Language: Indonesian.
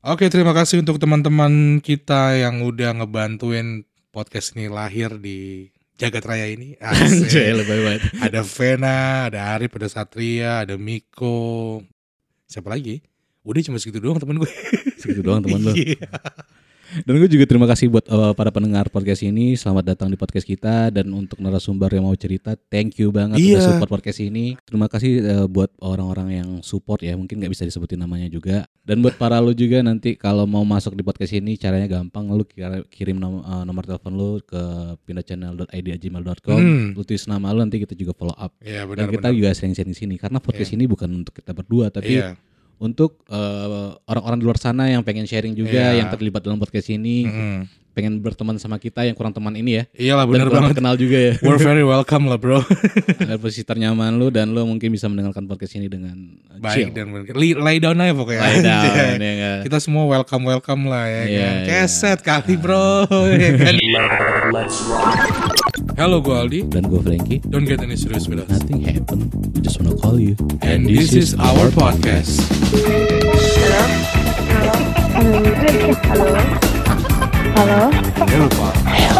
Oke, terima kasih untuk teman-teman kita yang udah ngebantuin podcast ini lahir di jagat raya ini. Anjay Asik. lebay banget. ada Vena, ada Arif, ada Satria, ada Miko. Siapa lagi? Udah cuma segitu doang temen gue. Segitu doang teman lo. Iya. Dan gue juga terima kasih buat eh, para pendengar podcast ini. Selamat datang di podcast kita dan untuk narasumber yang mau cerita, thank you banget Iya. udah support podcast ini. Terima kasih eh, buat orang-orang yang support ya, mungkin nggak bisa disebutin namanya juga. Dan buat para lo juga nanti kalau mau masuk di podcast ini caranya gampang, lu kira- kirim nom- eh, nomor telepon lu ke pindahchannel.id@gmail.com. Hmm. Lu tulis nama lu nanti kita juga follow up. Iya Dan kita benar-benar. juga sering-sering di sini karena podcast ini bukan untuk kita berdua tapi Iya. untuk eh, orang-orang di luar sana yang pengen sharing juga, Iya. yang terlibat dalam podcast ini, Mm. pengen berteman sama kita yang kurang teman ini ya. Iyalah Dan benar kurang banget. terkenal juga ya. We're very welcome lah bro. Ada posisi ternyaman lu dan lu mungkin bisa mendengarkan podcast ini dengan eh, Baik Iya. chill. dan benar. Li- Lay down aja pokoknya. Lie down, Anjay. ya nggak? Kita semua welcome welcome lah ya Iya, kan. iya. Ah. Keset kali bro. ya kan? Halo gue Aldi. Dan gue Frankie, Don't get any serious with us. nothing happened. We just wanna call you. And this is our podcast. Hello. Hello. Jangan lupa